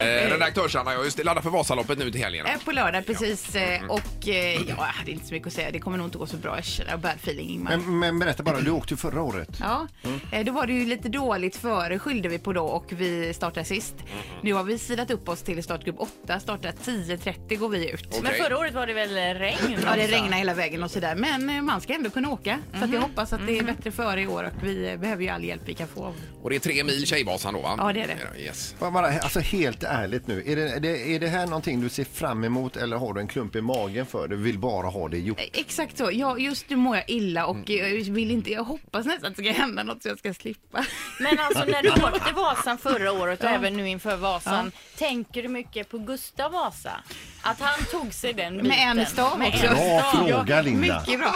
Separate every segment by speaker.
Speaker 1: Eh, Redaktörs-Anna, jag har just laddat för Vasaloppet nu till helgen.
Speaker 2: Eh, På lördag precis. eh, Och eh, ja, jag hade inte så mycket att säga. Det kommer nog inte gå så bra. Jag känner bad feeling Ingmar.
Speaker 3: Men, men berätta bara, du åkte ju förra året.
Speaker 2: Ja, eh, då var det ju lite dåligt före skyllde vi på då och vi startade sist. Nu har vi silat upp oss till startgrupp 8, startar 10.30 går vi ut.
Speaker 1: Okej.
Speaker 4: Men förra året var det väl regn?
Speaker 2: Ja, det regnar hela vägen och sådär. Men eh, man ska ändå kunna åka. Så att jag hoppas att det är bättre före i år och vi eh, behöver ju all hjälp vi kan få.
Speaker 1: Och det är tre mil Tjejvasan då va?
Speaker 2: Ja, det är det.
Speaker 1: Yes.
Speaker 3: Bara, bara, alltså helt ärligt nu, är det, är, det, är det här någonting du ser fram emot eller har du en klump i magen för? Du vill bara ha det gjort.
Speaker 2: Eh, Exakt så. Jag, just nu mår jag illa och eh, jag vill inte, jag hoppas nästan att det ska hända något så jag ska slippa.
Speaker 4: Men alltså när du åkte Vasan förra året och även nu inför Vasan, tänker du mycket på Gustav Vasa? Att han tog sig den biten?
Speaker 2: en stav
Speaker 4: Med
Speaker 2: också.
Speaker 4: en
Speaker 3: Bra
Speaker 4: stav.
Speaker 3: fråga Linda!
Speaker 2: Mycket bra.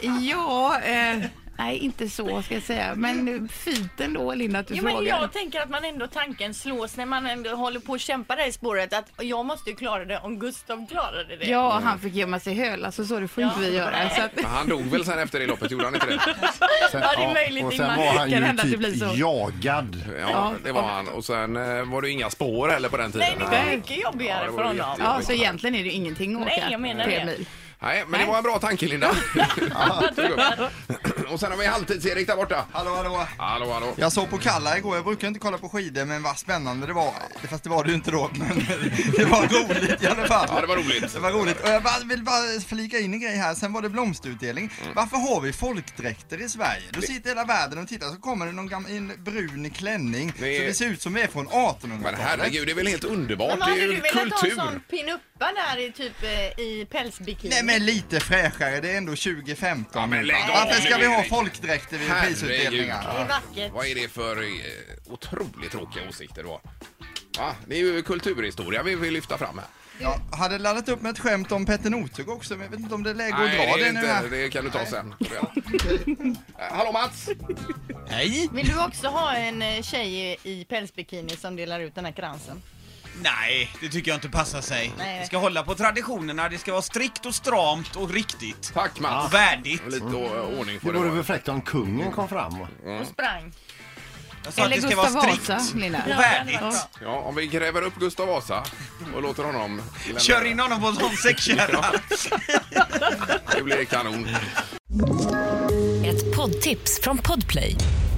Speaker 2: Ja, eh, nej inte så ska jag säga. Men eh, fint ändå Linda att du
Speaker 4: Jo,
Speaker 2: frågar.
Speaker 4: men jag tänker att man ändå tanken slås när man ändå håller på att kämpa där i spåret att jag måste ju klara det om Gustav klarade det.
Speaker 2: Ja, han fick gömma sig i höla så så det får inte vi göra. Så att,
Speaker 1: Men han dog väl sen efter det loppet, gjorde han inte det?
Speaker 3: Sen,
Speaker 4: Ja, det är möjligt,
Speaker 3: och sen
Speaker 4: Ingmar.
Speaker 3: var han
Speaker 2: Kan hända att
Speaker 3: ju
Speaker 2: det blir
Speaker 3: typ
Speaker 2: så.
Speaker 3: jagad.
Speaker 1: Ja, det var han. Och sen eh, var det inga spår heller på den
Speaker 4: Nej,
Speaker 1: tiden.
Speaker 4: det var mycket jobbigare
Speaker 1: Ja, det var
Speaker 4: för
Speaker 1: ju
Speaker 4: honom.
Speaker 1: jätte-
Speaker 2: ja, så egentligen är det ju ingenting att åka.
Speaker 4: Nej, jag menar
Speaker 2: tre
Speaker 4: det.
Speaker 2: mil.
Speaker 1: Nej, men det var en bra tanke Linda. Tog upp. och sen har vi Halvtids-Erik där borta.
Speaker 5: Hallå, hallå.
Speaker 1: Hallå, hallå.
Speaker 5: Jag såg på Kalla igår, jag brukar inte kolla på skidor men vad spännande det var. Fast det var det ju inte då, men det var roligt i alla fall.
Speaker 1: Ja, det var roligt.
Speaker 5: Det var roligt. Och jag bara, vill bara flika in en grej här, sen var det blomsterutdelning. Varför har vi folkdräkter i Sverige? Då sitter hela världen och tittar, så kommer det någon gam- i en brun klänning,
Speaker 1: Det är-
Speaker 5: så det ser ut som vi är från
Speaker 1: Men
Speaker 5: 1800-talet.
Speaker 1: herregud, det är väl helt underbart?
Speaker 4: Men
Speaker 1: Det är
Speaker 4: hade du
Speaker 1: ju
Speaker 4: velat ha en sån
Speaker 1: kultur.
Speaker 4: pinuppa där i typ eh, i pälsbikini?
Speaker 5: Nej men lite fräschare, det är ändå 2015.
Speaker 1: Ja, men lägg av
Speaker 5: Varför ska
Speaker 1: nu,
Speaker 5: vi ha
Speaker 1: Erik.
Speaker 5: folkdräkter vid
Speaker 1: Herregud.
Speaker 5: prisutdelningar?
Speaker 4: Det är vackert.
Speaker 1: Vad är det för eh, otroligt tråkiga åsikter du har? Va? Det är ju kulturhistoria vi vill lyfta fram här.
Speaker 5: Jag hade laddat upp med ett skämt om Petter Northug också, men jag vet inte om det är läge att
Speaker 1: Nej,
Speaker 5: dra
Speaker 1: det, är
Speaker 5: det nu här.
Speaker 1: inte. det kan du ta sen. Eh, Hallå Mats!
Speaker 6: Hej!
Speaker 4: Vill du också ha en eh, tjej i i pälsbikini som delar ut den här kransen?
Speaker 6: Nej, det tycker jag inte passar sig.
Speaker 4: Nej.
Speaker 6: Vi ska hålla på traditionerna, det ska vara strikt och stramt och riktigt.
Speaker 1: Tack Mats!
Speaker 6: Och värdigt.
Speaker 1: Och Lite å- ordning på
Speaker 3: Det
Speaker 1: det.
Speaker 3: vore väl
Speaker 1: bara.
Speaker 3: fräckt om kungen kom fram.
Speaker 4: Och sprang.
Speaker 6: Jag sa att
Speaker 2: Eller
Speaker 6: det ska
Speaker 2: Gustav
Speaker 6: vara strikt
Speaker 2: Vasa, Linda.
Speaker 6: och värdigt.
Speaker 1: Ja, om vi gräver upp Gustav Vasa och låter honom... lämna-
Speaker 6: Kör in honom på en sån säckkärra.
Speaker 1: Det blir kanon.
Speaker 7: Ett poddtips från Podplay.